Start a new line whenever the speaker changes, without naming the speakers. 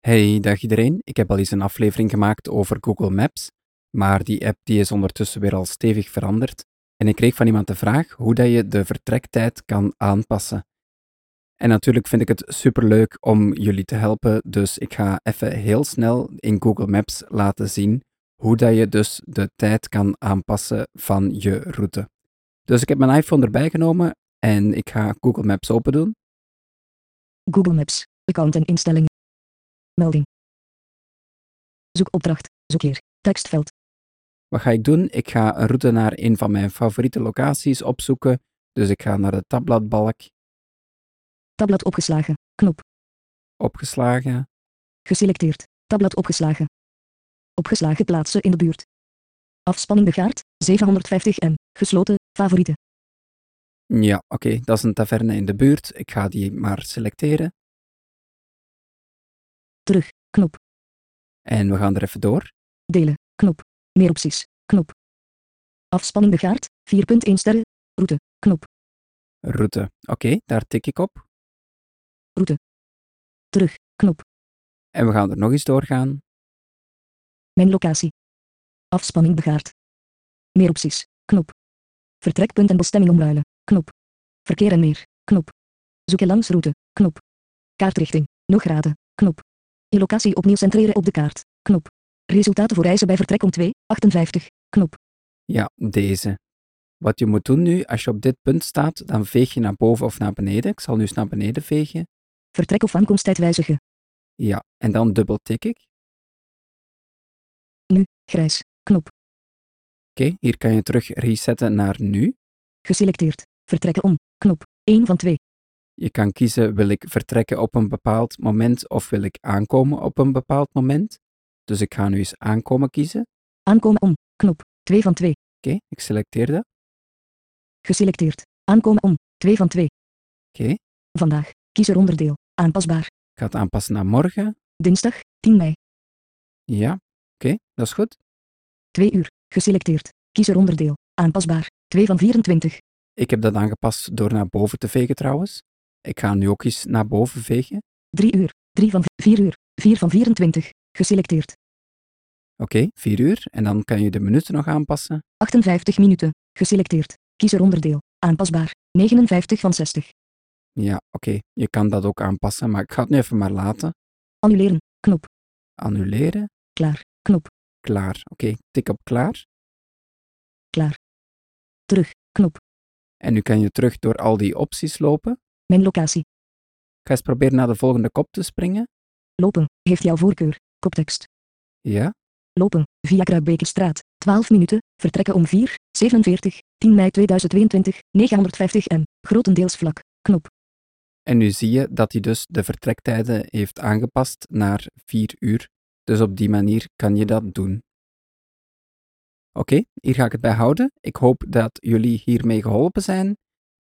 Hey, dag iedereen. Ik heb al eens een aflevering gemaakt over Google Maps, maar die app die is ondertussen weer al stevig veranderd. En ik kreeg van iemand de vraag hoe dat je de vertrektijd kan aanpassen. En natuurlijk vind ik het superleuk om jullie te helpen, dus ik ga even heel snel in Google Maps laten zien hoe dat je dus de tijd kan aanpassen van je route. Dus ik heb mijn iPhone erbij genomen en ik ga Google Maps open doen.
Google Maps. Account en instellingen. Melding. Zoekopdracht. Zoekkeer. Tekstveld.
Wat ga ik doen? Ik ga een route naar een van mijn favoriete locaties opzoeken. Dus ik ga naar de tabbladbalk,
Tabblad opgeslagen. Knop.
opgeslagen.
Geselecteerd. Tabblad opgeslagen. Opgeslagen plaatsen in de buurt. Afspanning begaard. 750 m. Gesloten. Favorieten.
Ja, oké, dat is een taverne in de buurt. Ik ga die maar selecteren.
Terug. Knop.
En we gaan er even door.
Delen. Knop. Meer opties. Knop. Afspanning begaard. 4.1 sterren. Route. Knop.
Route. Oké, daar tik ik op.
Terug. Knop.
En we gaan er nog eens doorgaan.
Mijn locatie. Afspanning begaard. Meer opties. Knop. Vertrekpunt en bestemming omruilen. Knop. Verkeer en meer. Knop. Zoeken langs route. Knop. Kaartrichting. Nog raden. Knop. Je locatie opnieuw centreren op de kaart. Knop. Resultaten voor reizen bij vertrek om 2, 58. Knop.
Ja, deze. Wat je moet doen nu, als je op dit punt staat, dan veeg je naar boven of naar beneden. Ik zal nu eens naar beneden vegen.
Vertrek of aankomsttijd wijzigen.
Ja, en dan dubbel tik ik.
Grijs. Knop.
Oké, hier kan je terug resetten naar nu.
Geselecteerd. Vertrekken om. Knop. 1 van 2.
Je kan kiezen, wil ik vertrekken op een bepaald moment of wil ik aankomen op een bepaald moment. Dus ik ga nu eens aankomen kiezen. Oké,
Aankomen om. Knop. 2 van 2.
ik selecteer dat.
Geselecteerd. Aankomen om. 2 van 2.
Oké,
Vandaag. Kies er onderdeel. Aanpasbaar.
ik ga het aanpassen naar morgen.
Dinsdag, 10 mei.
Ja, oké, dat is goed.
2 uur. Geselecteerd. Kies er onderdeel. Aanpasbaar. 2 van 24.
Ik heb dat aangepast door naar boven te vegen trouwens. Ik ga nu ook eens naar boven vegen.
3 uur. 3 van 4 uur. 4 van 24. Geselecteerd.
Oké, 4 uur. En dan kan je de minuten nog aanpassen.
58 minuten. Geselecteerd. Kies er onderdeel. Aanpasbaar. 59 van 60.
Ja, oké, je kan dat ook aanpassen, maar ik ga het nu even maar laten.
Annuleren. Knop.
Annuleren.
Klaar. Knop.
Klaar. Oké, ik tik op klaar.
Terug. Knop.
En nu kan je terug door al die opties lopen.
Mijn locatie.
Ik ga eens proberen naar de volgende kop te springen.
Lopen. Heeft jouw voorkeur. Koptekst.
Ja,
Lopen. Via Kruikbekerstraat. 12 minuten. Vertrekken om 4. 47. 10 mei 2022. 950 m. Grotendeels vlak. Knop.
en nu zie je dat hij dus de vertrektijden heeft aangepast naar 4 uur. Dus op die manier kan je dat doen. Oké, hier ga ik het bij houden. Ik hoop dat jullie hiermee geholpen zijn.